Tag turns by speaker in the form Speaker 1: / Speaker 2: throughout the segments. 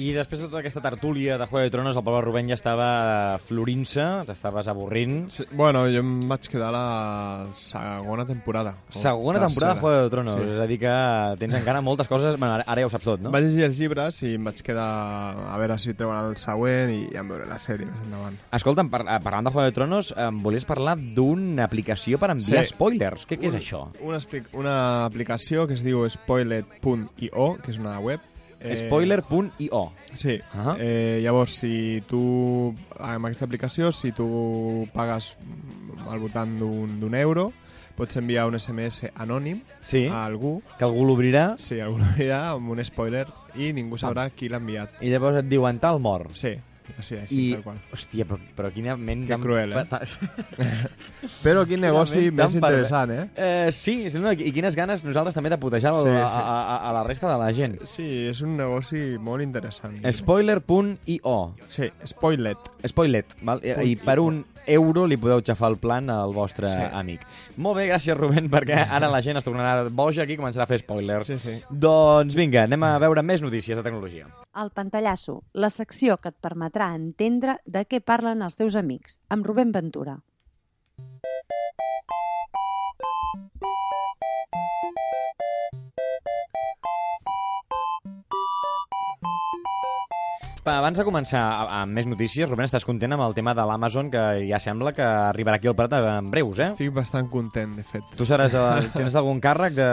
Speaker 1: I després de tota aquesta tertúlia de Juego de Tronos, el Pablo Rubén ja estava florint-se, t'estaves avorrint.
Speaker 2: Sí, bueno, jo em vaig quedar a la segona temporada. o
Speaker 1: Segona
Speaker 2: Oh,
Speaker 1: temporada
Speaker 2: tercera.
Speaker 1: de Juego de Tronos,
Speaker 2: Sí.
Speaker 1: sí. és a dir que tens encara moltes coses... Bueno, ara- ara ja ho saps tot, no?
Speaker 2: Vaig llegir els llibres i em vaig quedar a veure si treuen el següent i ja em veuré la sèrie més endavant.
Speaker 1: Escolta'm, par eh, parlant de Juego de Tronos, em volies parlar d'una aplicació per enviar
Speaker 2: Sí.
Speaker 1: spoilers. Què, què és això?
Speaker 2: Una, explic- una aplicació que es diu spoilet.io, que és una web. Eh,
Speaker 1: Spoiler.io.
Speaker 2: Sí.
Speaker 1: Ah.
Speaker 2: eh, llavors, si tu, amb aquesta aplicació, si tu pagues mm, al voltant d'un d'un euro, pots enviar un SMS anònim
Speaker 1: Sí,
Speaker 2: a algú,
Speaker 1: que algú l'obrirà
Speaker 2: si algú ho dirà, amb un spoiler, i ningú
Speaker 1: Ah.
Speaker 2: sabrà qui l'ha enviat.
Speaker 1: i llavors et diuen tal mort.
Speaker 2: Sí, així, així,
Speaker 1: I,
Speaker 2: tal qual.
Speaker 1: hòstia, però, però quina ment...
Speaker 2: Que cruel, eh?
Speaker 1: eh?
Speaker 2: Però quin negoci
Speaker 1: Finalment,
Speaker 2: més
Speaker 1: tan pervers.
Speaker 2: interessant, eh?
Speaker 1: eh sí, sí, no, i quines ganes nosaltres també de putejar sí,
Speaker 2: Sí,
Speaker 1: sí. A,
Speaker 2: sí.
Speaker 1: a, a- a la resta de la gent.
Speaker 2: Sí, és un negoci molt interessant.
Speaker 1: Spoiler.io
Speaker 2: Sí, spoilet.
Speaker 1: Spoilet, val? I, i per un euro li podeu xafar el plan al vostre sí.
Speaker 2: Sí.
Speaker 1: amic. Molt bé, gràcies, Rubén, perquè ara la gent es tornarà boja aquí i començarà a fer spoilers.
Speaker 2: Sí, sí.
Speaker 1: Doncs vinga, anem a veure més notícies de tecnologia.
Speaker 3: El Pantallasso, la secció que et permetrà entendre de què parlen els teus amics, amb Rubén Ventura.
Speaker 1: Pa, abans de començar a- amb més notícies, Rubén, estàs content amb el tema de l'Amazon, que ja sembla que arribarà aquí al Prat en breus, eh?
Speaker 2: Estic bastant content, de fet.
Speaker 1: Tu seràs, el, tens algun càrrec de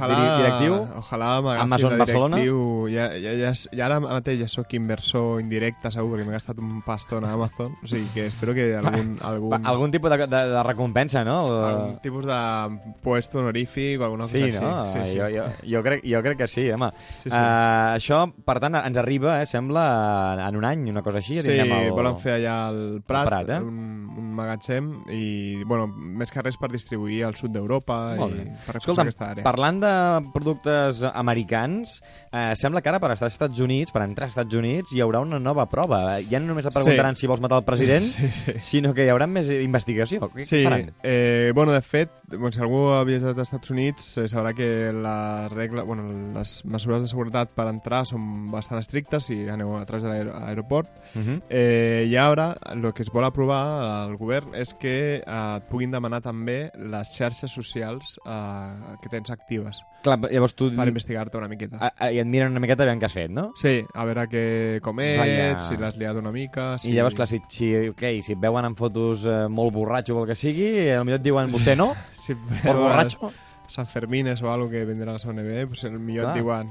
Speaker 1: diri- directiu?
Speaker 2: Ojalà m'agafi
Speaker 1: Amazon
Speaker 2: de
Speaker 1: Barcelona?
Speaker 2: directiu. Ja, ja, ja, ja ara mateix ja sóc inversor indirecte, segur, perquè m'he gastat un pastón a Amazon. O sigui que espero que algun, algun,
Speaker 1: Pa, algun tipus de, de, de recompensa, no? El-
Speaker 2: algun tipus de puesto honorífic o alguna cosa
Speaker 1: Sí,
Speaker 2: així.
Speaker 1: no? Jo, jo, jo, crec, jo crec que sí, home.
Speaker 2: Sí, sí.
Speaker 1: Eh, això, per tant, ens arriba, eh, sembla, en un any, una cosa així. ja
Speaker 2: Sí,
Speaker 1: tindrem el...
Speaker 2: volen fer allà al Prat,
Speaker 1: al Prat, eh?
Speaker 2: un, un magatzem i, bueno, més que res per distribuir al sud d'Europa i
Speaker 1: Molt
Speaker 2: per
Speaker 1: bé.
Speaker 2: reforçar
Speaker 1: Escolta'm,
Speaker 2: aquesta àrea.
Speaker 1: parlant de productes americans, eh, sembla que ara per estar als Estats Units, per entrar als Estats Units, hi haurà una nova prova. Ja no només et preguntaran
Speaker 2: Sí.
Speaker 1: si vols matar el president,
Speaker 2: Sí, sí.
Speaker 1: sinó que hi haurà més investigació. Què
Speaker 2: Sí,
Speaker 1: faran?
Speaker 2: eh, bueno, de fet, doncs, si algú ha viatjat als Estats Units eh, sabrà que la regla, bueno, les mesures de seguretat per entrar són bastant estrictes si aneu a través de l'aer- l'aeroport.
Speaker 1: Uh -huh.
Speaker 2: Eh, I ara el que es vol aprovar al govern és que eh, et puguin demanar també les xarxes socials eh, que tens actives
Speaker 1: Clar, llavors tu...
Speaker 2: per investigar-te una miqueta.
Speaker 1: a- a- I et miren una miqueta aviam què has fet, no?
Speaker 2: Sí, a veure què comets,
Speaker 1: Vaja.
Speaker 2: si l'has liat una mica...
Speaker 1: Sí.
Speaker 2: Si...
Speaker 1: I llavors, clar, si, si, okay, si et veuen amb fotos eh, molt borratxo o el que sigui, eh, potser et diuen, vostè no?
Speaker 2: si
Speaker 1: Molt borratxo?
Speaker 2: San Fermines o algo que vendrá la segona NBA, pues el millor
Speaker 1: Clar.
Speaker 2: et diuen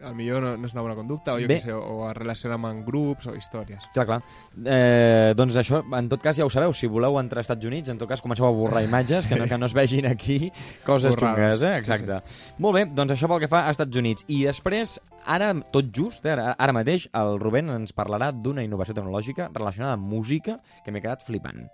Speaker 2: el millor no, no és una bona conducta, o jo
Speaker 1: Bé.
Speaker 2: què sé, o es relaciona amb grups o històries.
Speaker 1: Clar, clar. Eh, doncs això, en tot cas, ja ho sabeu, si voleu entrar als Estats Units, en tot cas comenceu a borrar imatges, sí. que, no, que no es vegin aquí coses
Speaker 2: Borrades.
Speaker 1: xungues, eh? Exacte. Sí, sí. Molt bé, doncs això pel que fa a Estats Units. I després, ara, tot just, eh, ara, ara mateix, el Rubén ens parlarà d'una innovació tecnològica relacionada amb música que m'he quedat flipant.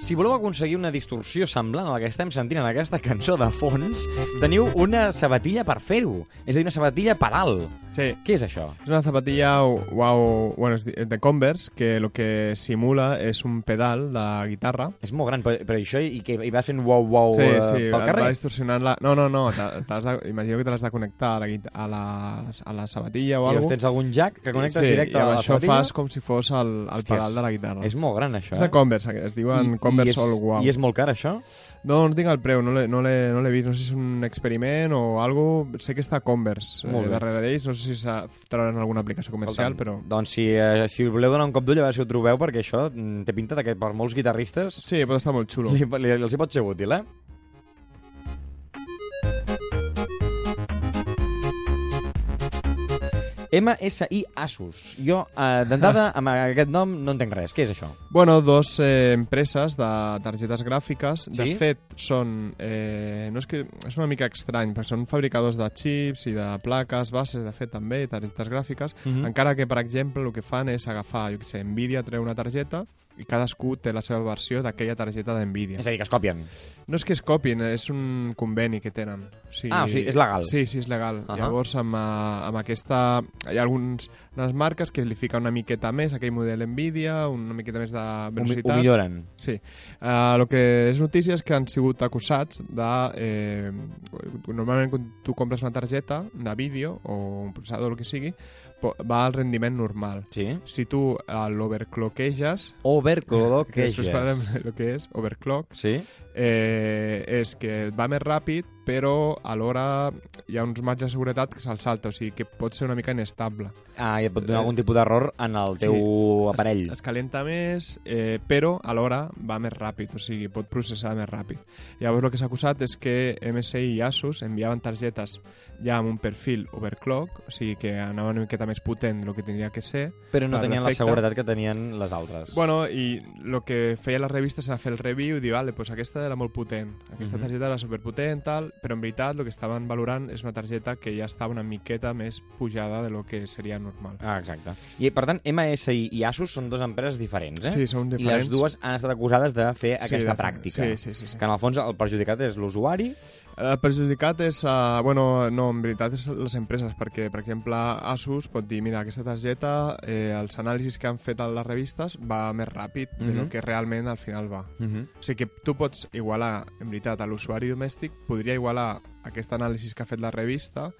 Speaker 1: Si voleu aconseguir una distorsió semblant a la que estem sentint en aquesta cançó de fons, teniu una sabatilla per fer-ho. És a dir, una sabatilla pedal.
Speaker 2: Sí.
Speaker 1: Què és això?
Speaker 2: És una zapatilla wow, bueno, és di- de Converse que lo que simula és un pedal de guitarra.
Speaker 1: És molt gran, però, però això i que hi vas fent wow wow
Speaker 2: sí,
Speaker 1: eh,
Speaker 2: sí,
Speaker 1: pel
Speaker 2: et
Speaker 1: carrer?
Speaker 2: va distorsionant la... No, no, no, te, te l'has de, imagino que te l'has de connectar a la, guita- a la, a la
Speaker 1: I
Speaker 2: sabatilla o alguna
Speaker 1: llavors tens algun jack que connectes
Speaker 2: sí,
Speaker 1: directe
Speaker 2: i
Speaker 1: a
Speaker 2: amb
Speaker 1: la
Speaker 2: això
Speaker 1: sabatilla.
Speaker 2: fas com si fos el, el
Speaker 1: Hòsties,
Speaker 2: pedal de la guitarra.
Speaker 1: És
Speaker 2: És,
Speaker 1: molt gran, això.
Speaker 2: és de Converse, aquest, es diuen Converse
Speaker 1: és,
Speaker 2: All Wow.
Speaker 1: I és molt car, això?
Speaker 2: No, no tinc el preu, no l'he no l'he- no l'he vist, no sé si és un experiment o algo. Sé que està a Converse
Speaker 1: Molt
Speaker 2: eh,
Speaker 1: bé.
Speaker 2: darrere d'ells, no sé si s'ha- trauran alguna aplicació comercial,
Speaker 1: Escolta'm,
Speaker 2: però...
Speaker 1: Doncs si, eh, si voleu donar un cop d'ull, a veure si ho trobeu, perquè això mm, té pinta de que per molts guitarristes
Speaker 2: Sí, pot estar molt xulo.
Speaker 1: li, li, els hi pot ser útil, eh? MSI Asus. Jo, eh, d'entrada, amb aquest nom no entenc res. Què és això?
Speaker 2: Bueno, dos eh, empreses de targetes gràfiques. De
Speaker 1: Sí?
Speaker 2: fet, són... Eh, no és que... És una mica estrany, perquè són fabricadors de xips i de plaques, bases, de fet, també, i targetes gràfiques.
Speaker 1: Mhm.
Speaker 2: Encara que, per exemple, el que fan és agafar, jo què sé, Nvidia treu una targeta i cadascú té la seva versió d'aquella targeta d'Nvidia.
Speaker 1: És a dir, que es copien.
Speaker 2: No és que es copin, eh, és un conveni que tenen. O sigui,
Speaker 1: Ah, o sigui, és legal.
Speaker 2: Sí, sí, és legal. Uh
Speaker 1: Ahà.
Speaker 2: -huh. Llavors, amb, eh, amb aquesta hi ha alguns, unes marques que li fica una miqueta més, aquell model Nvidia, una miqueta més de
Speaker 1: Ho, mi- ho
Speaker 2: velocitat.
Speaker 1: milloren.
Speaker 2: Sí. El que és notícia és que han sigut acusats de... Eh, normalment quan tu compres una targeta de vídeo o un processador, el que sigui, po- va al rendiment normal.
Speaker 1: Sí.
Speaker 2: Si tu eh, l'overcloqueges,
Speaker 1: Overclock
Speaker 2: que després parlarem del que és, overclock,
Speaker 1: Sí?
Speaker 2: eh, és que va més ràpid, però alhora hi ha uns marges de seguretat que se'l salta, o sigui que pot ser una mica inestable.
Speaker 1: Ah, i et pot donar algun tipus d'error en el teu aparell.
Speaker 2: Es, es calenta més, eh, però alhora va més ràpid, o sigui, pot processar més ràpid. Llavors el que s'ha acusat és que MSI i Asus enviaven targetes ja amb un perfil overclock, o sigui que anava una miqueta més potent del que tindria que ser.
Speaker 1: Però no
Speaker 2: per
Speaker 1: tenien la
Speaker 2: defecte.
Speaker 1: seguretat que tenien les altres.
Speaker 2: Bueno, i el que feia la revista era fer el review i dir, vale, pues aquesta era molt potent, aquesta
Speaker 1: Mhm.
Speaker 2: targeta era superpotent, tal, però en veritat el que estaven valorant és una targeta que ja estava una miqueta més pujada de lo que seria normal.
Speaker 1: Ah, exacte. I, per tant, MSI i Asus són dues empreses diferents, eh?
Speaker 2: Sí, són
Speaker 1: I les
Speaker 2: diferents.
Speaker 1: dues han estat acusades de fer
Speaker 2: Sí,
Speaker 1: aquesta
Speaker 2: de-
Speaker 1: pràctica.
Speaker 2: Sí, sí, sí. sí.
Speaker 1: Que, en el fons, el perjudicat és l'usuari.
Speaker 2: El perjudicat és... Uh, bueno, no, en veritat és les empreses, perquè, per exemple, Asus pot dir, mira, aquesta targeta, eh, els anàlisis que han fet a les revistes va més ràpid mm -hmm.
Speaker 1: Mhm.
Speaker 2: del que realment al final va.
Speaker 1: Uh -huh.
Speaker 2: O sigui que tu pots igualar, en veritat, a l'usuari domèstic, podria igualar aquest anàlisis que ha fet la revista,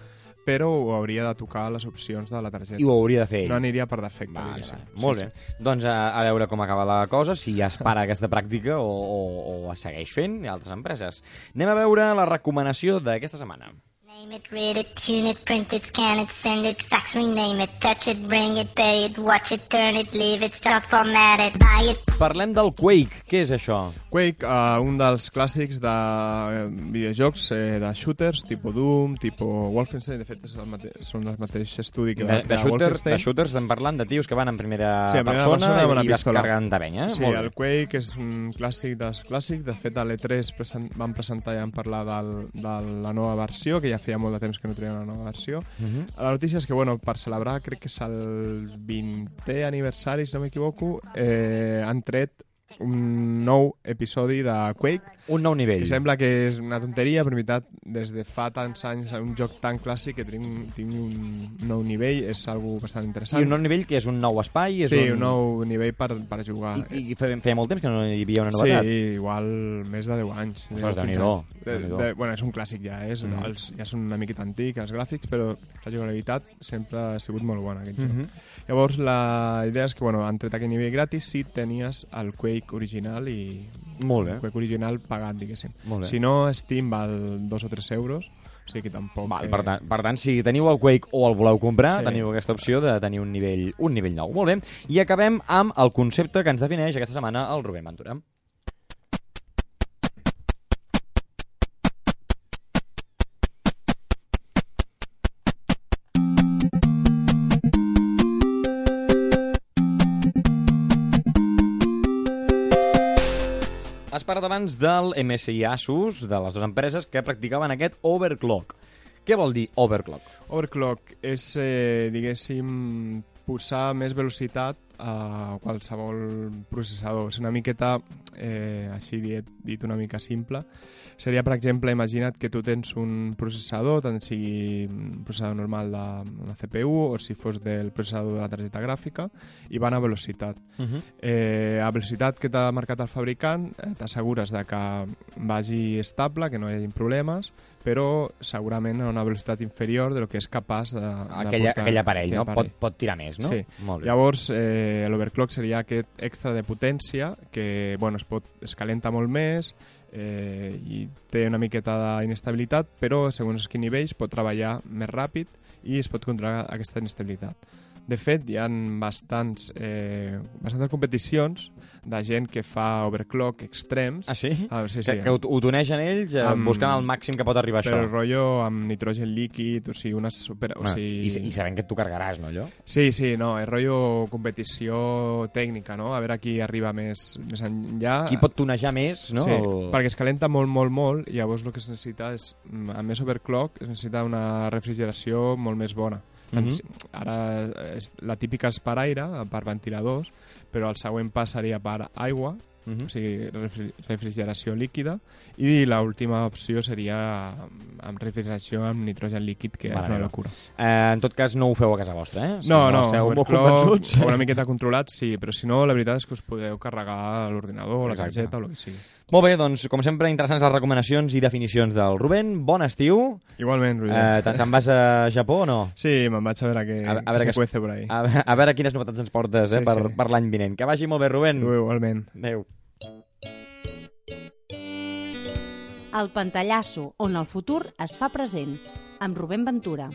Speaker 2: però ho hauria de tocar les opcions de la targeta.
Speaker 1: I ho hauria de fer ell.
Speaker 2: No aniria per defecte,
Speaker 1: Vale,
Speaker 2: diguéssim.
Speaker 1: vale. Molt bé. Doncs a, a veure com acaba la cosa, si ja es para aquesta pràctica o, o, o es segueix fent i altres empreses. Anem a veure la recomanació d'aquesta setmana.
Speaker 4: Name it, read it, tune it, print it, scan it, send it, fax, rename it, touch it, bring it, pay it, watch it, turn it, leave it, stop, format it, buy it,
Speaker 1: Parlem del Quake. Què és això?
Speaker 2: Quake, eh, un dels clàssics de eh, videojocs eh, de shooters, tipus Doom, tipus Wolfenstein, de fet és el mate són el mateix estudi que va
Speaker 1: De, de,
Speaker 2: crear
Speaker 1: shooter, de
Speaker 2: Wolfenstein.
Speaker 1: shooters estem parlant de tios que van en primera,
Speaker 2: Sí, en primera
Speaker 1: persona,
Speaker 2: persona amb una
Speaker 1: i vas
Speaker 2: pistola.
Speaker 1: carregant de penya. Eh?
Speaker 2: Sí,
Speaker 1: Molt bé.
Speaker 2: el Quake és un clàssic dels clàssics. De fet, a l'E3 present, van presentar i van parlar del, de la nova versió, que ja feia molt de temps que no treien una nova versió.
Speaker 1: Mhm.
Speaker 2: La notícia és que, bueno, per celebrar, crec que és el 20è aniversari, si no m'equivoco, eh, han tret un nou episodi de Quake
Speaker 1: Un nou nivell.
Speaker 2: Que sembla que és una tonteria, però en veritat, des de fa tants anys, un joc tan clàssic que tingui, tingui un nou nivell és algo bastant interessant.
Speaker 1: I un nou nivell que és un nou espai. És
Speaker 2: sí,
Speaker 1: un...
Speaker 2: un nou nivell per, per jugar.
Speaker 1: I, i feia, feia molt temps que no hi havia una
Speaker 2: sí,
Speaker 1: novetat.
Speaker 2: igual més de 10 anys.
Speaker 1: Ostres,
Speaker 2: 10, 15
Speaker 1: Déu-n'hi-do,
Speaker 2: anys. De-
Speaker 1: Déu-n'hi-do.
Speaker 2: de- Bueno, és un clàssic ja, és,
Speaker 1: Mhm.
Speaker 2: mm. els, ja són una miqueta antic els gràfics, però la jugabilitat sempre ha sigut molt bona. Aquest joc.
Speaker 1: Mhm.
Speaker 2: Llavors, la idea és que, bueno, han tret aquell nivell gratis si tenies el Quake original i...
Speaker 1: Molt bé.
Speaker 2: El Quake original pagat, diguéssim.
Speaker 1: Molt bé.
Speaker 2: Si no, Steam val 2 o 3 euros, o sigui que tampoc...
Speaker 1: Val,
Speaker 2: eh,
Speaker 1: per, tant, per tant, si teniu el Quake o el voleu comprar,
Speaker 2: Sí.
Speaker 1: sí. Ah, teniu aquesta opció de tenir un nivell, un nivell nou. Molt bé. I acabem amb el concepte que ens defineix aquesta setmana el Rubén Ventura. Has parlat abans del MSI Asus, de les dues empreses que practicaven aquest overclock. Què vol dir overclock?
Speaker 2: Overclock és, eh, diguéssim, posar més velocitat a qualsevol processador. És una miqueta, eh, així dit, dit una mica simple, seria, per exemple, imagina't que tu tens un processador, tant sigui un processador normal de la CPU o si fos del processador de la targeta gràfica, i van a velocitat.
Speaker 1: Uh -huh.
Speaker 2: Eh, a velocitat que t'ha marcat el fabricant, eh, t'assegures de que vagi estable, que no hi hagi problemes, però segurament a una velocitat inferior de lo que és capaç de,
Speaker 1: Aquella,
Speaker 2: de portar.
Speaker 1: aquell aparell, no?
Speaker 2: Aquell
Speaker 1: Pot, pot tirar més, no?
Speaker 2: Sí.
Speaker 1: Molt bé.
Speaker 2: Llavors, eh, l'overclock seria aquest extra de potència que, bueno, es, pot, es calenta molt més eh, i té una miqueta d'inestabilitat, però segons quins nivells pot treballar més ràpid i es pot controlar aquesta inestabilitat. De fet, hi ha bastants, eh, bastantes competicions de gent que fa overclock extrems.
Speaker 1: Ah, sí?
Speaker 2: Ah, sí, sí.
Speaker 1: que, que ho, ho tunegen ells eh,
Speaker 2: Amb-
Speaker 1: buscant el màxim que pot arribar
Speaker 2: però
Speaker 1: això.
Speaker 2: rotllo amb nitrogen líquid, o sigui, una super... O
Speaker 1: Bueno,
Speaker 2: sigui...
Speaker 1: i, sa- I sabent que tu cargaràs, no, allò?
Speaker 2: Sí, sí, no, és rotllo competició tècnica, no? A veure qui arriba més, més enllà.
Speaker 1: Qui pot tunejar més, no?
Speaker 2: Ah. Sí,
Speaker 1: El-
Speaker 2: perquè es calenta molt, molt, molt i llavors el que es necessita és, mm, a més overclock, es necessita una refrigeració molt més bona. Tant
Speaker 1: Mhm.
Speaker 2: si- Ara és la típica és per aire, per ventiladors, però el següent pas seria per aigua
Speaker 1: Mhm.
Speaker 2: o sigui, refri- refrigeració líquida, i l'última opció seria amb- amb refrigeració amb nitrogen líquid, que
Speaker 1: Mare
Speaker 2: és una
Speaker 1: meva.
Speaker 2: locura.
Speaker 1: Eh, en tot cas, no ho feu a casa vostra, eh? Si
Speaker 2: No, no,
Speaker 1: esteu molt
Speaker 2: overclock,
Speaker 1: convençuts.
Speaker 2: una miqueta controlat, sí, però si no, la veritat és que us podeu carregar l'ordinador, la
Speaker 1: Exacte.
Speaker 2: targeta o el que sigui.
Speaker 1: Molt bé, doncs, com sempre, interessants les recomanacions i definicions del Rubén. Bon estiu.
Speaker 2: Igualment, Roger.
Speaker 1: Eh, te- Te'n vas a Japó o no?
Speaker 2: Sí, me'n vaig a veure què,
Speaker 1: A- a
Speaker 2: a,
Speaker 1: veure
Speaker 2: se
Speaker 1: què es- Ah,
Speaker 2: cuece por ahí.
Speaker 1: A, ve- a veure quines novetats ens portes eh,
Speaker 2: Sí,
Speaker 1: per,
Speaker 2: sí.
Speaker 1: per l'any vinent. Que vagi molt bé, Rubén.
Speaker 2: Igualment.
Speaker 1: Adéu.
Speaker 3: El Pantallasso, on el futur es fa present, amb Rubén Ventura.